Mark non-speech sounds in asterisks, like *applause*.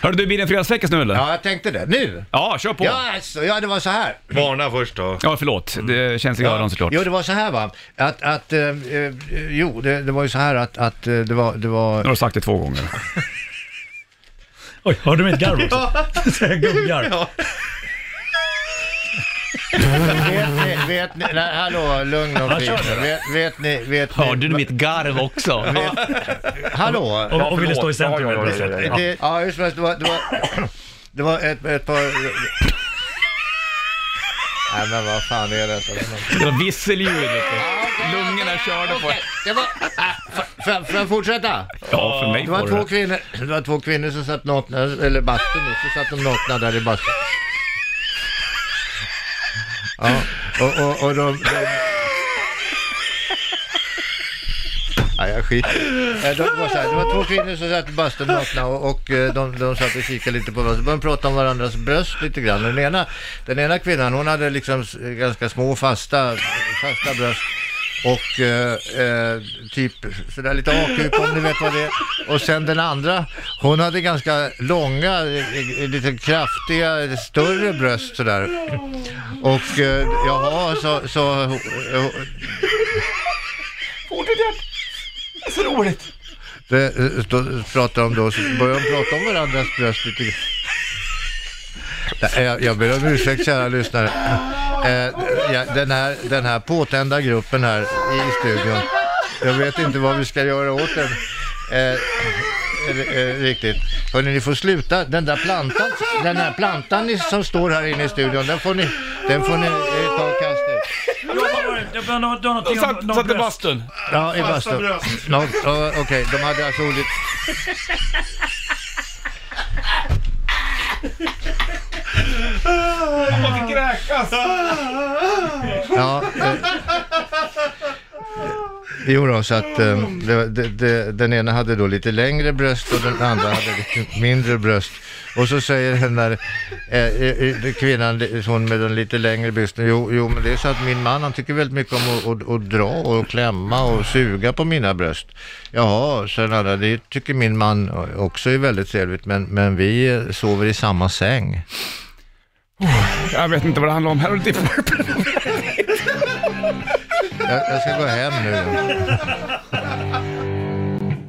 Hörde du, blir det en fredagsfräckis nu eller? Ja, jag tänkte det. Nu? Ja, kör på. Ja, Ja, alltså, ja, det var så här. Varna först då. förlåt. Det känns i öronen såklart. Jo, det var så här va. Att, att eh, eh, jo, det, det var ju så här att, att eh, det var, det Nu var... har du sagt det två gånger. Oj, hörde du mitt garv också? Så *laughs* jag gunggar. *laughs* Ja. Vet ni, vet ni, nej, hallå, lugn och fin. Vet, vet ni, vet ni. Hörde du mitt garv också? Hallå? Och, och ville förlåt. stå i centrum. Ja, ja, ja, ja, Ja. Det, ja, hur som helst, det var, det var, det var ett, ett par... Nej men vad fan är detta? Det var visselljud. vet du. Lungorna körde på. Det var... Ah, får- Får jag- får jag fortsätta? Ja, för mig Det var var det två det. kvinnor, det var två kvinnor som satt nakna, eller bastun då, så satt de nakna där i bastun. Ja, och, och, och de... de... Ja, jag skiter Eh, de, det, var så här, det var två kvinnor som satt i bastun nakna och, och eh, de, de satt och kikade lite på varandra. Så började de prata om varandras bröst lite grann. Den ena, den ena kvinnan, hon hade liksom s- ganska små fasta, fasta bröst. Och eh, eh, typ sådär lite A-kupa om ni vet vad det är. Och sen den andra, hon hade ganska långa, eh, eh, lite kraftiga, eh, större bröst sådär. Och eh, jaha, så... så eh, Det, eh, då pratar de då, så börjar de prata om varandras bröst lite grann. Nej, Jag, jag ber om ursäkt kära lyssnare. Eh, ja, den, här, den här påtända gruppen här i studion. Jag vet inte vad vi ska göra åt den. Eh, eh, eh, riktigt. Hörrni, ni får sluta. Den där plantan, den här plantan ni, som står här inne i studion, den får ni, den får ni eh, ta och kasta ut. Jag behöver nå- nå- någonting om- Satt, någon satt i bröst. bastun. Ja, i bastun. No, Okej, de hade alltså olika... Man fick kräkas. Ja. Eh, jo då, så att eh, det, det, det, den ena hade då lite längre bröst och den andra hade lite mindre bröst. Och så säger den där eh, eh, eh, kvinnan, hon med den lite längre brösten, jo, jo men det är så att min man han tycker väldigt mycket om att, att, att dra och klämma och suga på mina bröst. Jaha, så den andra, det tycker min man också är väldigt trevligt, men, men vi eh, sover i samma säng. Jag vet inte vad det handlar om. Här har du Deep Purple. Jag, jag ska gå hem nu.